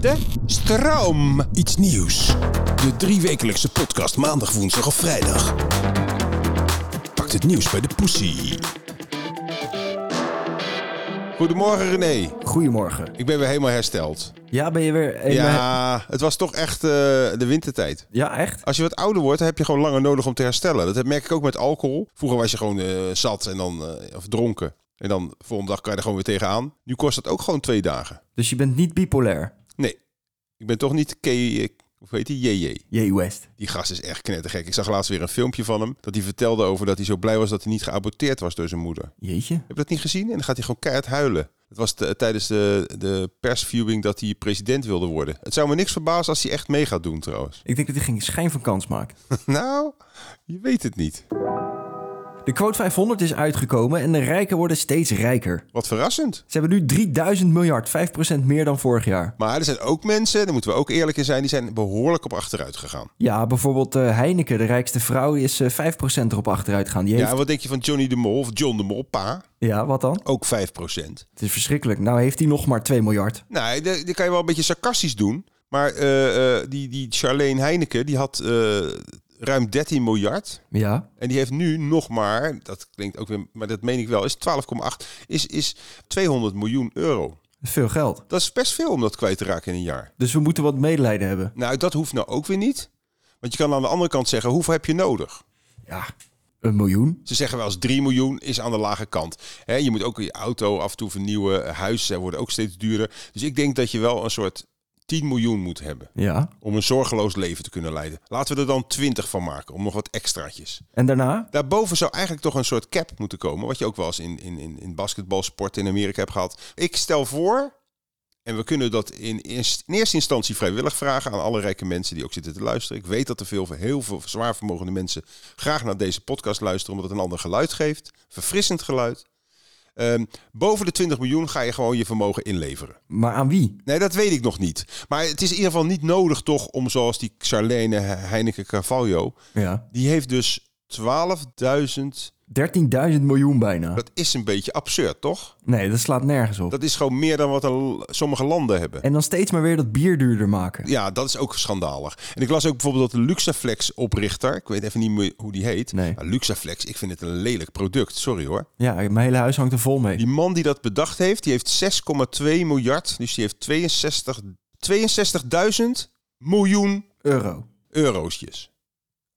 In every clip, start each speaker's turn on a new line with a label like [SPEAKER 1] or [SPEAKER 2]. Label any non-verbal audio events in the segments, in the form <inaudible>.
[SPEAKER 1] de stroom.
[SPEAKER 2] Iets nieuws. De driewekelijkse podcast maandag, woensdag of vrijdag. Pakt het nieuws bij de poesie.
[SPEAKER 1] Goedemorgen René.
[SPEAKER 3] Goedemorgen.
[SPEAKER 1] Ik ben weer helemaal hersteld.
[SPEAKER 3] Ja, ben je weer... eh, maar-
[SPEAKER 1] Ja, het was toch echt eh, de wintertijd.
[SPEAKER 3] ja, echt?
[SPEAKER 1] Als je wat ouder wordt, dan heb je gewoon langer nodig om te herstellen. Dat merk ik ook met alcohol. Vroeger was je gewoon eh, zat en dan, eh, of dronken. En dan volgende dag kan je er gewoon weer tegenaan. Nu kost dat ook gewoon twee dagen.
[SPEAKER 3] Dus je bent niet bipolair?
[SPEAKER 1] Nee, ik ben toch niet K... eh, Hoe heet die? JJ.
[SPEAKER 3] Jee, West.
[SPEAKER 1] Die gast is echt knettergek. Ik zag laatst weer een filmpje van hem. Dat hij vertelde over dat hij zo blij was dat hij niet geaborteerd was door zijn moeder.
[SPEAKER 3] Jeetje.
[SPEAKER 1] Heb je dat niet gezien? En dan gaat hij gewoon keihard huilen. Het was de- tijdens de, de persviewing dat hij president wilde worden. Het zou me niks verbazen als hij echt mee gaat doen trouwens. <laughs>
[SPEAKER 3] Ik denk dat hij geen schijn van kans maakt.
[SPEAKER 1] nou, je weet het niet.
[SPEAKER 3] De quote 500 is uitgekomen en de rijken worden steeds rijker.
[SPEAKER 1] Wat verrassend.
[SPEAKER 3] Ze hebben nu 3000 miljard, 5% meer dan vorig jaar.
[SPEAKER 1] Maar er zijn ook mensen, daar moeten we ook eerlijk in zijn, die zijn behoorlijk op achteruit gegaan.
[SPEAKER 3] Ja, bijvoorbeeld eh, Heineken, de rijkste vrouw, die is eh, 5% erop achteruit gaan. Die heeft...
[SPEAKER 1] Ja, wat denk je van Johnny de Mol of John de Mol, pa?
[SPEAKER 3] Ja, wat dan?
[SPEAKER 1] Ook 5%.
[SPEAKER 3] Het is verschrikkelijk. Nou heeft hij nog maar 2 miljard.
[SPEAKER 1] Nou, dat dat kan je wel een beetje sarcastisch doen. Maar eh, eh, die, die Charlene Heineken, die had eh, ruim 13 miljard.
[SPEAKER 3] Ja.
[SPEAKER 1] En die heeft nu nog maar, dat klinkt ook weer, maar dat meen ik wel, is 12,8, is, is 200 miljoen euro.
[SPEAKER 3] Veel geld.
[SPEAKER 1] Dat is best veel om dat kwijt te raken in een jaar.
[SPEAKER 3] Dus we moeten wat medelijden hebben.
[SPEAKER 1] Nou, dat hoeft nou ook weer niet. Want je kan aan de andere kant zeggen, hoeveel heb je nodig?
[SPEAKER 3] Ja, een miljoen.
[SPEAKER 1] Ze zeggen wel eens 3 miljoen is aan de lage kant. Hè, je moet ook je auto af en toe vernieuwen. Huizen worden ook steeds duurder. Dus ik denk dat je wel een soort 10 miljoen moet hebben.
[SPEAKER 3] Ja.
[SPEAKER 1] om een zorgeloos leven te kunnen leiden. Laten we er dan 20 van maken, om nog wat extraatjes.
[SPEAKER 3] En daarna?
[SPEAKER 1] Daarboven zou eigenlijk toch een soort cap moeten komen, wat je ook wel eens in, in, in, in basketbalsport in Amerika hebt gehad. Ik stel voor, en we kunnen dat in, eerst- in eerste instantie vrijwillig vragen aan alle rijke mensen die ook zitten te luisteren. Ik weet dat er veel, heel veel zwaar vermogende mensen graag naar deze podcast luisteren, omdat het een ander geluid geeft, verfrissend geluid. Ehm, boven de 20 miljoen ga je gewoon je vermogen inleveren.
[SPEAKER 3] Maar aan wie?
[SPEAKER 1] Nee, dat weet ik nog niet. Maar het is in ieder geval niet nodig toch om zoals die Charlene Heineken Carvalho...
[SPEAKER 3] Ja.
[SPEAKER 1] die heeft dus 12.000...
[SPEAKER 3] 13.000 miljoen bijna.
[SPEAKER 1] Dat is een beetje absurd, toch?
[SPEAKER 3] Nee, dat slaat nergens op.
[SPEAKER 1] Dat is gewoon meer dan wat een- sommige landen hebben.
[SPEAKER 3] En dan steeds maar weer dat bier duurder maken.
[SPEAKER 1] Ja, dat is ook schandalig. En ik las ook bijvoorbeeld dat de Luxaflex-oprichter... ik weet even niet meer hoe die heet.
[SPEAKER 3] Nee.
[SPEAKER 1] Nou, Luxaflex, ik vind het een lelijk product. Sorry hoor.
[SPEAKER 3] Ja, mijn hele huis hangt er vol mee.
[SPEAKER 1] Die man die dat bedacht heeft, die heeft 6,2 miljard. Dus die heeft 62 62.000 miljoen
[SPEAKER 3] Euro.
[SPEAKER 1] euro'sjes.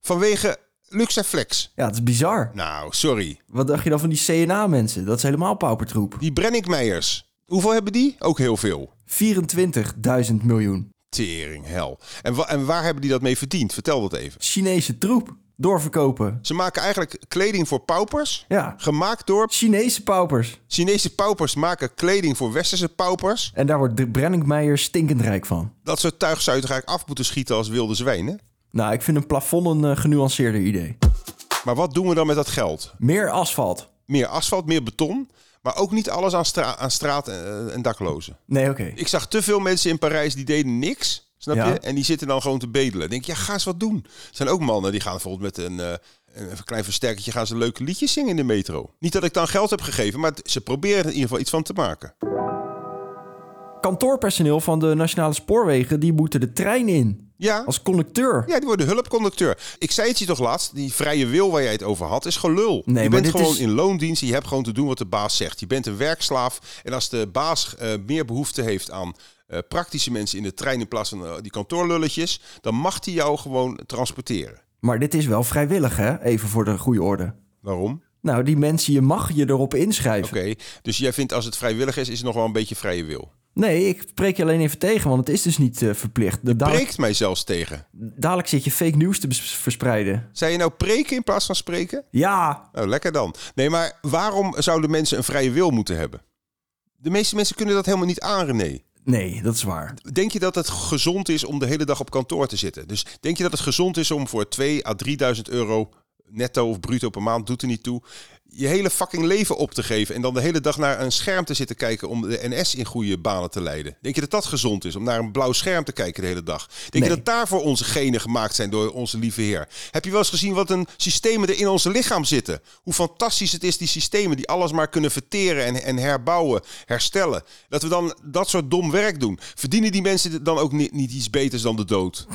[SPEAKER 1] Vanwege Luxaflex.
[SPEAKER 3] Ja, het is bizar.
[SPEAKER 1] Nou, sorry.
[SPEAKER 3] Wat dacht je dan van die CNA-mensen? Dat is helemaal paupertroep.
[SPEAKER 1] Die Brenninkmeijers. Hoeveel hebben die? Ook heel veel.
[SPEAKER 3] 24.000 miljoen.
[SPEAKER 1] Tering, hel. En, wa- en waar hebben die dat mee verdiend? Vertel dat even.
[SPEAKER 3] Chinese troep. Doorverkopen.
[SPEAKER 1] Ze maken eigenlijk kleding voor paupers.
[SPEAKER 3] Ja.
[SPEAKER 1] Gemaakt door
[SPEAKER 3] Chinese paupers.
[SPEAKER 1] Chinese paupers maken kleding voor Westerse paupers.
[SPEAKER 3] En daar wordt de Brenningmeijer stinkend rijk van.
[SPEAKER 1] Dat soort tuig zou je toch eigenlijk af moeten schieten als wilde zwijnen?
[SPEAKER 3] Nou, ik vind een plafond een eh, genuanceerder idee.
[SPEAKER 1] Maar wat doen we dan met dat geld?
[SPEAKER 3] Meer asfalt.
[SPEAKER 1] Meer asfalt, meer beton. Maar ook niet alles aan, stra- aan straat eh, en daklozen.
[SPEAKER 3] Nee, oké.
[SPEAKER 1] Ik zag te veel mensen in Parijs die deden niks. Snap
[SPEAKER 3] Ja.
[SPEAKER 1] je? En die zitten dan gewoon te bedelen. Ik Denk, ja, ga eens wat doen. Er zijn ook mannen die gaan bijvoorbeeld met een, eh, een een klein versterkertje gaan ze leuke liedjes zingen in de metro. Niet dat ik dan geld heb gegeven, maar het- ze proberen er in ieder geval iets van te maken.
[SPEAKER 3] Kantoorpersoneel van de Nationale Spoorwegen, die moeten de trein in.
[SPEAKER 1] Ja,
[SPEAKER 3] Als conducteur.
[SPEAKER 1] ja die worden hulpconducteur. Ik zei het je toch laatst, die vrije wil waar jij het over had, is gelul.
[SPEAKER 3] maar
[SPEAKER 1] je bent
[SPEAKER 3] dit
[SPEAKER 1] gewoon
[SPEAKER 3] is-
[SPEAKER 1] in loondienst en je hebt gewoon te doen wat de baas zegt. Je bent een werkslaaf en als de baas eh, meer behoefte heeft aan... eh, praktische mensen in de trein in plaats van eh, die kantoorlulletjes, dan mag hij jou gewoon transporteren.
[SPEAKER 3] Maar dit is wel vrijwillig, hè? Even voor de goede orde.
[SPEAKER 1] Waarom?
[SPEAKER 3] Nou, die mensen, je mag je erop inschrijven.
[SPEAKER 1] Oké, dus jij vindt als het vrijwillig is, is het nog wel een beetje vrije wil.
[SPEAKER 3] Nee, ik spreek je alleen even tegen, want het is dus niet eh, verplicht. De dadelijk,
[SPEAKER 1] Preekt mij zelfs tegen.
[SPEAKER 3] dadelijk zit je fake nieuws te bes- verspreiden.
[SPEAKER 1] Zei je nou preken in plaats van spreken?
[SPEAKER 3] Ja,
[SPEAKER 1] Nou, lekker dan. Nee, maar waarom zouden mensen een vrije wil moeten hebben? De meeste mensen kunnen dat helemaal niet aan, René.
[SPEAKER 3] nee, dat is waar.
[SPEAKER 1] Denk je dat het gezond is om de hele dag op kantoor te zitten? Dus denk je dat het gezond is om voor 2 à 3000 euro netto of bruto per maand, doet er niet toe. Je hele fucking leven op te geven en dan de hele dag naar een scherm te zitten kijken om de NS in goede banen te leiden. Denk je dat dat gezond is? Om naar een blauw scherm te kijken de hele dag? Denk
[SPEAKER 3] Nee.
[SPEAKER 1] je dat daarvoor onze genen gemaakt zijn door onze lieve Heer? Heb je wel eens gezien wat een systemen er in onze lichaam zitten? Hoe fantastisch het is, die systemen die alles maar kunnen verteren en, en herbouwen, herstellen. Dat we dan dat soort dom werk doen. Verdienen die mensen dan ook niet, niet iets beters dan de dood?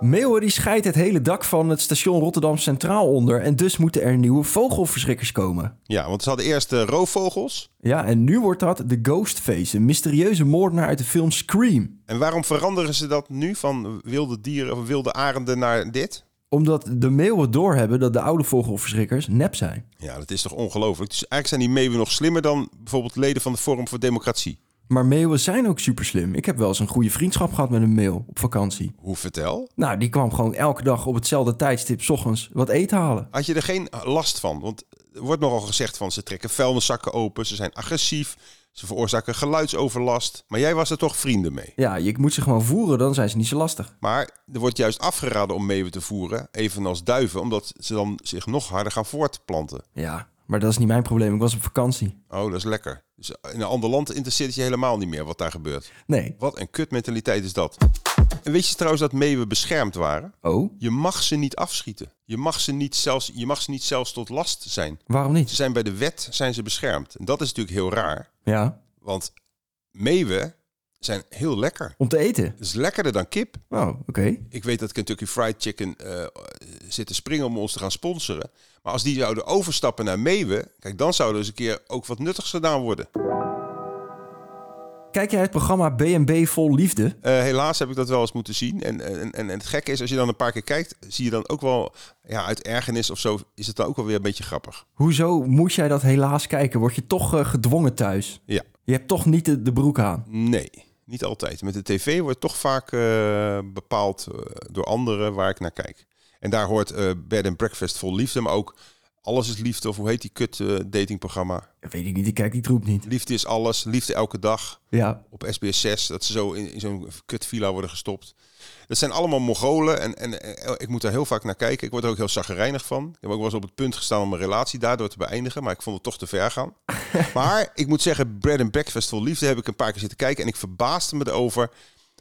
[SPEAKER 3] Meeuwen die scheidt het hele dak van het station Rotterdam Centraal onder en dus moeten er nieuwe vogelverschrikkers komen.
[SPEAKER 1] Ja, want ze hadden eerst eh, roofvogels.
[SPEAKER 3] Ja, en nu wordt dat de Ghostface, een mysterieuze moordenaar uit de film Scream.
[SPEAKER 1] En waarom veranderen ze dat nu van wilde dieren of wilde arenden naar dit?
[SPEAKER 3] Omdat de meeuwen doorhebben dat de oude vogelverschrikkers nep zijn.
[SPEAKER 1] Ja, dat is toch ongelooflijk. Dus eigenlijk zijn die meeuwen nog slimmer dan bijvoorbeeld leden van de Forum voor Democratie.
[SPEAKER 3] Maar meeuwen zijn ook super slim. Ik heb wel eens een goede vriendschap gehad met een meeuw op vakantie.
[SPEAKER 1] Hoe vertel?
[SPEAKER 3] Nou, die kwam gewoon elke dag op hetzelfde tijdstip 's ochtends wat eten halen.
[SPEAKER 1] Had je er geen last van? Want er wordt nogal gezegd van ze trekken vuilniszakken open, ze zijn agressief, ze veroorzaken geluidsoverlast. Maar jij was er toch vrienden mee.
[SPEAKER 3] Ja, je moet ze gewoon voeren, dan zijn ze niet zo lastig.
[SPEAKER 1] Maar er wordt juist afgeraden om meeuwen te voeren, evenals duiven, omdat ze dan zich nog harder gaan voortplanten.
[SPEAKER 3] Ja, maar dat is niet mijn probleem. Ik was op vakantie.
[SPEAKER 1] Oh, dat is lekker. Dus in een ander land interesseert het je helemaal niet meer wat daar gebeurt.
[SPEAKER 3] Nee.
[SPEAKER 1] Wat een kutmentaliteit is dat. En weet je trouwens dat meeuwen beschermd waren?
[SPEAKER 3] Oh,
[SPEAKER 1] Je mag ze niet afschieten. Je mag ze niet zelfs, je mag ze niet zelfs tot last zijn.
[SPEAKER 3] waarom
[SPEAKER 1] Ze
[SPEAKER 3] niet?
[SPEAKER 1] zijn bij de wet zijn ze beschermd. En dat is natuurlijk heel raar.
[SPEAKER 3] Ja,
[SPEAKER 1] Want meeuwen zijn heel lekker.
[SPEAKER 3] om te eten.
[SPEAKER 1] Het is lekkerder dan kip.
[SPEAKER 3] Oh, oké.
[SPEAKER 1] Ik weet dat Kentucky Fried Chicken eh, zit te springen om ons te gaan sponsoren. Maar als die zouden overstappen naar meeuwen... Kijk, dan zou er eens een keer ook wat nuttigs gedaan worden.
[SPEAKER 3] Kijk jij het programma B&B Vol Liefde?
[SPEAKER 1] Eh, helaas heb ik dat wel eens moeten zien. En, en, en het gekke is, als je dan een paar keer kijkt, zie je dan ook wel, ja, uit ergernis of zo, is het dan ook wel weer een beetje grappig.
[SPEAKER 3] Hoezo moet jij dat helaas kijken? Word je toch eh, gedwongen thuis?
[SPEAKER 1] Ja,
[SPEAKER 3] Je hebt toch niet de, de broek aan?
[SPEAKER 1] nee, niet altijd. Met de tv wordt toch vaak eh, bepaald eh, door anderen waar ik naar kijk. En daar hoort eh, Bed and Breakfast vol liefde, maar ook Alles is Liefde, of hoe heet die kut eh, datingprogramma?
[SPEAKER 3] Weet ik niet, ik kijk die troep niet.
[SPEAKER 1] Liefde is alles, liefde elke dag.
[SPEAKER 3] Ja,
[SPEAKER 1] op SBS 6, dat ze zo in, in zo'n kutvilla worden gestopt. Dat zijn allemaal Mongolen en, en, eh, ik moet daar heel vaak naar kijken. Ik word er ook heel zagrijnig van. Ik heb ook wel eens op het punt gestaan om een relatie daardoor te beëindigen, maar ik vond het toch te ver gaan. maar ik moet zeggen, Bread and Breakfast vol liefde heb ik een paar keer zitten kijken en ik verbaasde me erover,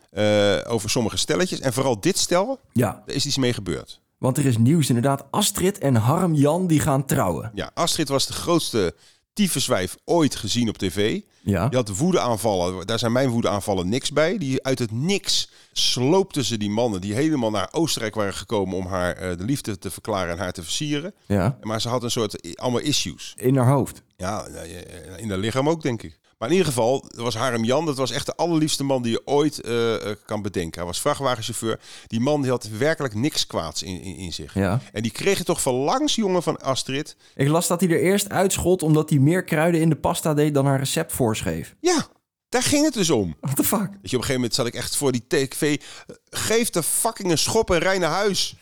[SPEAKER 1] eh, over sommige stelletjes. En vooral dit stel,
[SPEAKER 3] ja.
[SPEAKER 1] er is iets mee gebeurd.
[SPEAKER 3] Want er is nieuws inderdaad. Astrid en Harm Jan die gaan trouwen.
[SPEAKER 1] Ja, Astrid was de grootste tyfuswijf ooit gezien op tv.
[SPEAKER 3] Ja.
[SPEAKER 1] Je had woedeaanvallen. Daar zijn mijn woedeaanvallen niks bij. Die uit het niks sloopten ze die mannen die helemaal naar Oostenrijk waren gekomen om haar eh, de liefde te verklaren en haar te versieren.
[SPEAKER 3] Ja.
[SPEAKER 1] Maar ze had een soort i- allemaal issues.
[SPEAKER 3] In haar hoofd.
[SPEAKER 1] Ja, eh, in haar lichaam ook, denk ik. Maar in ieder geval, dat was Harem Jan. Dat was echt de allerliefste man die je ooit eh, eh, kan bedenken. Hij was vrachtwagenchauffeur. Die man die had werkelijk niks kwaads in, in, in zich.
[SPEAKER 3] Ja.
[SPEAKER 1] En die kreeg het toch van langs, jongen, van Astrid.
[SPEAKER 3] Ik las dat hij er eerst uitschot omdat hij meer kruiden in de pasta deed dan haar recept voorschreef.
[SPEAKER 1] Ja, daar ging het dus om.
[SPEAKER 3] What the fuck?
[SPEAKER 1] Dat je op een gegeven moment zat ik echt voor die tv. eh, Geef de fucking een schop en rij naar huis.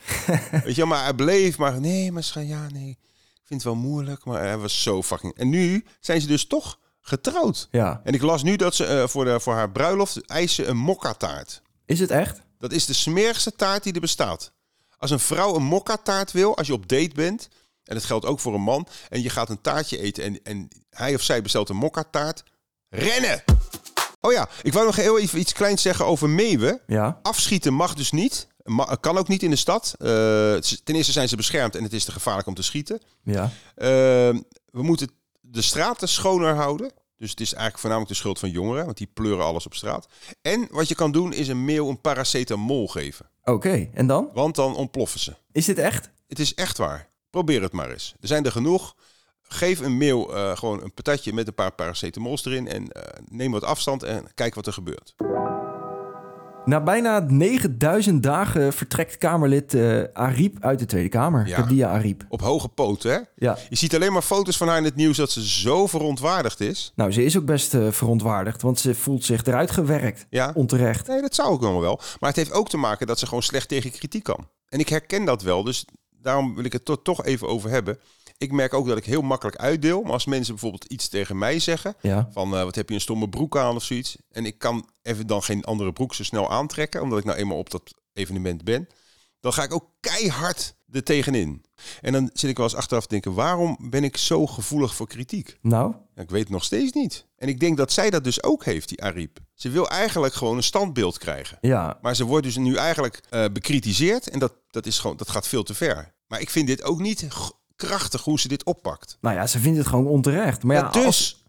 [SPEAKER 1] Weet je, maar hij bleef maar. Nee, maar scha- ja, nee. Ik vind het wel moeilijk, maar hij was zo fucking. En nu zijn ze dus toch getrouwd.
[SPEAKER 3] Ja.
[SPEAKER 1] En ik las nu dat ze eh, voor, de, voor haar bruiloft eisen een mokkataart.
[SPEAKER 3] Is het echt?
[SPEAKER 1] Dat is de smerigste taart die er bestaat. Als een vrouw een mokkataart wil, als je op date bent, en dat geldt ook voor een man, en je gaat een taartje eten en, en hij of zij bestelt een mokkataart, rennen! Oh ja, ik wou nog heel even iets kleins zeggen over meeuwen.
[SPEAKER 3] Ja.
[SPEAKER 1] Afschieten mag dus niet, ma- kan ook niet in de stad. Eh, het is- ten eerste zijn ze beschermd en het is te gevaarlijk om te schieten.
[SPEAKER 3] Ja.
[SPEAKER 1] Eh, we moeten de straten schoner houden. Dus het is eigenlijk voornamelijk de schuld van jongeren, want die pleuren alles op straat. En wat je kan doen is een meeuw een paracetamol geven.
[SPEAKER 3] Oké, en dan?
[SPEAKER 1] Want dan ontploffen ze.
[SPEAKER 3] Is dit echt?
[SPEAKER 1] Het is echt waar. Probeer het maar eens. Er zijn er genoeg. Geef een meeuw eh, gewoon een patatje met een paar paracetamols erin. En eh, neem wat afstand en kijk wat er gebeurt.
[SPEAKER 3] Na bijna 9000 dagen vertrekt Kamerlid eh Ariep uit de Tweede Kamer.
[SPEAKER 1] Ja.
[SPEAKER 3] Kadia Ariep.
[SPEAKER 1] Op hoge poten, hè?
[SPEAKER 3] Ja.
[SPEAKER 1] Je ziet alleen maar foto's van haar in het nieuws dat ze zo verontwaardigd is.
[SPEAKER 3] Nou, ze is ook best eh, verontwaardigd, want ze voelt zich eruit gewerkt.
[SPEAKER 1] Ja.
[SPEAKER 3] Onterecht.
[SPEAKER 1] Nee, dat zou ook allemaal wel. Maar het heeft ook te maken dat ze gewoon slecht tegen kritiek kan. En ik herken dat wel, dus daarom wil ik het to- toch even over hebben. Ik merk ook dat ik heel makkelijk uitdeel. Maar als mensen bijvoorbeeld iets tegen mij zeggen...
[SPEAKER 3] Ja.
[SPEAKER 1] Van eh, wat heb je een stomme broek aan of zoiets. En ik kan even dan geen andere broek zo snel aantrekken, omdat ik nou eenmaal op dat evenement ben. dan ga ik ook keihard er tegenin. En dan zit ik wel eens achteraf te denken, waarom ben ik zo gevoelig voor kritiek?
[SPEAKER 3] Nou,
[SPEAKER 1] Ja, ik weet het nog steeds niet. En ik denk dat zij dat dus ook heeft, die Ariep. Ze wil eigenlijk gewoon een standbeeld krijgen.
[SPEAKER 3] ja.
[SPEAKER 1] Maar ze wordt dus nu eigenlijk eh, bekritiseerd en dat, dat, is gewoon, dat gaat veel te ver. Maar ik vind dit ook niet g- krachtig hoe ze dit oppakt.
[SPEAKER 3] Nou ja, ze vindt het gewoon onterecht. Maar ja,
[SPEAKER 1] Ja, dus,
[SPEAKER 3] als-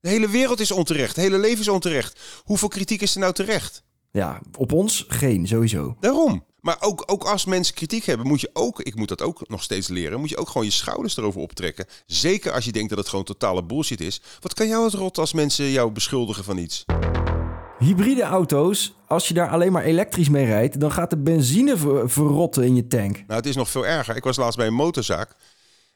[SPEAKER 1] de hele wereld is onterecht, het hele leven is onterecht. Hoeveel kritiek is er nou terecht?
[SPEAKER 3] ja, op ons geen, sowieso.
[SPEAKER 1] Daarom. Maar ook, ook als mensen kritiek hebben, moet je ook, ik moet dat ook nog steeds leren, moet je ook gewoon je schouders erover optrekken. Zeker als je denkt dat het gewoon totale bullshit is. Wat kan jou het rot als mensen jou beschuldigen van iets?
[SPEAKER 3] Hybride auto's, als je daar alleen maar elektrisch mee rijdt, dan gaat de benzine ver- verrotten in je tank.
[SPEAKER 1] Nou, het is nog veel erger. Ik was laatst bij een motorzaak.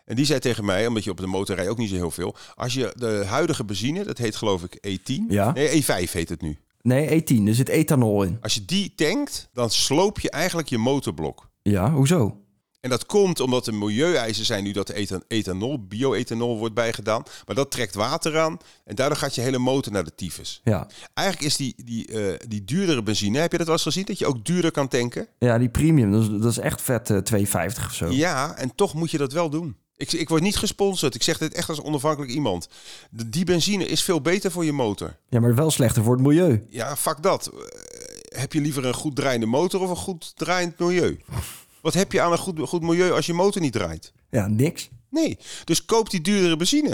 [SPEAKER 1] En die zei tegen mij, omdat je op de motor rijdt ook niet zo heel veel. Als je de huidige benzine, dat heet geloof ik E10.
[SPEAKER 3] Ja.
[SPEAKER 1] Nee, E5 heet het nu.
[SPEAKER 3] Nee, E10, er zit ethanol in.
[SPEAKER 1] Als je die tankt, dan sloop je eigenlijk je motorblok.
[SPEAKER 3] Ja, hoezo?
[SPEAKER 1] En dat komt omdat er milieueisen zijn nu dat de ethan- ethanol, bioethanol wordt bijgedaan. Maar dat trekt water aan en daardoor gaat je hele motor naar de tyfus.
[SPEAKER 3] Ja.
[SPEAKER 1] Eigenlijk is die, die, eh, die duurdere benzine, heb je dat wel eens gezien? Dat je ook duurder kan tanken?
[SPEAKER 3] ja, die premium, dat is, dat is echt vet eh, 2,50 of zo.
[SPEAKER 1] Ja, en toch moet je dat wel doen. Ik, ik word niet gesponsord. Ik zeg dit echt als onafhankelijk iemand. De- die benzine is veel beter voor je motor.
[SPEAKER 3] Ja, maar wel slechter voor het milieu.
[SPEAKER 1] Ja, fuck dat. Eh, heb je liever een goed draaiende motor of een goed draaiend milieu? Wat heb je aan een goed, goed milieu als je motor niet draait?
[SPEAKER 3] Ja, niks.
[SPEAKER 1] Nee, dus koop die duurdere benzine.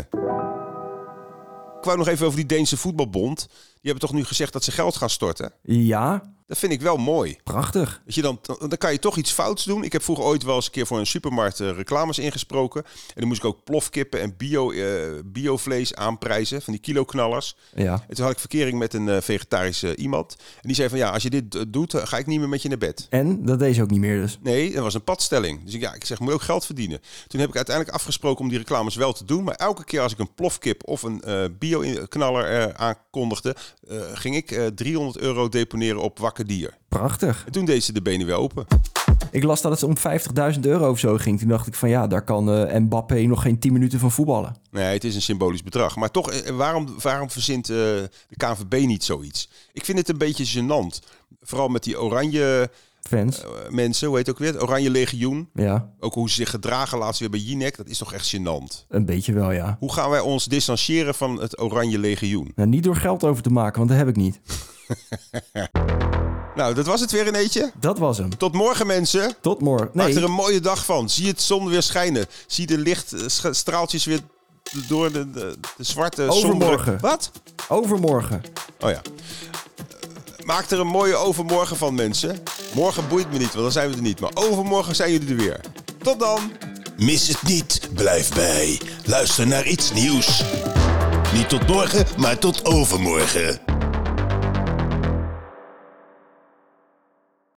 [SPEAKER 1] Ik wou nog even over die Deense voetbalbond. Die hebben toch nu gezegd dat ze geld gaan storten?
[SPEAKER 3] Ja,
[SPEAKER 1] Dat vind ik wel mooi.
[SPEAKER 3] prachtig.
[SPEAKER 1] Dat je dan, dan kan je toch iets fouts doen. Ik heb vroeger ooit wel eens een keer voor een supermarkt eh, reclames ingesproken. En dan moest ik ook plofkippen en bio, eh, biovlees aanprijzen. Van die kiloknallers.
[SPEAKER 3] Ja.
[SPEAKER 1] En toen had ik verkering met een eh, vegetarische iemand. En die zei van ja, als je dit eh, doet, dan ga ik niet meer met je naar bed.
[SPEAKER 3] En dat deed ze ook niet meer dus.
[SPEAKER 1] Nee, dat was een padstelling. Dus ik, ja, ik zeg, moet je ook geld verdienen. Toen heb ik uiteindelijk afgesproken om die reclames wel te doen. Maar elke keer als ik een plofkip of een eh bio-knaller eh, aankondigde... eh, ging ik eh, 300 euro deponeren op wakker dier.
[SPEAKER 3] Prachtig.
[SPEAKER 1] En toen deed ze de benen weer open.
[SPEAKER 3] Ik las dat het om 50.000 euro of zo ging. Toen dacht ik van ja, daar kan eh, Mbappé nog geen 10 minuten van voetballen.
[SPEAKER 1] Nee, het is een symbolisch bedrag. Maar toch, eh, waarom, waarom verzint eh, de KNVB niet zoiets? Ik vind het een beetje gênant. Vooral met die oranje
[SPEAKER 3] Fans.
[SPEAKER 1] eh, mensen, hoe heet het ook weer? Het Oranje legioen.
[SPEAKER 3] Ja,
[SPEAKER 1] Ook hoe ze zich gedragen laatst weer bij Jinek. Dat is toch echt gênant.
[SPEAKER 3] een beetje wel ja.
[SPEAKER 1] Hoe gaan wij ons distancieren van het Oranje legioen?
[SPEAKER 3] Nou, niet door geld over te maken, want dat heb ik niet.
[SPEAKER 1] Nou, dat was het weer een eetje.
[SPEAKER 3] Dat was hem.
[SPEAKER 1] Tot morgen mensen.
[SPEAKER 3] Tot morgen.
[SPEAKER 1] Maak
[SPEAKER 3] Nee,
[SPEAKER 1] er een mooie dag van. Zie het zon weer schijnen. Zie de lichtstraaltjes weer door de, de, de zwarte sombere...
[SPEAKER 3] Overmorgen.
[SPEAKER 1] Wat?
[SPEAKER 3] overmorgen.
[SPEAKER 1] Oh ja. Eh, Maak er een mooie overmorgen van, mensen. Morgen boeit me niet, want dan zijn we er niet. Maar overmorgen zijn jullie er weer. Tot dan!
[SPEAKER 2] Mis het niet, blijf bij. Luister naar iets nieuws. Niet tot morgen, maar tot overmorgen.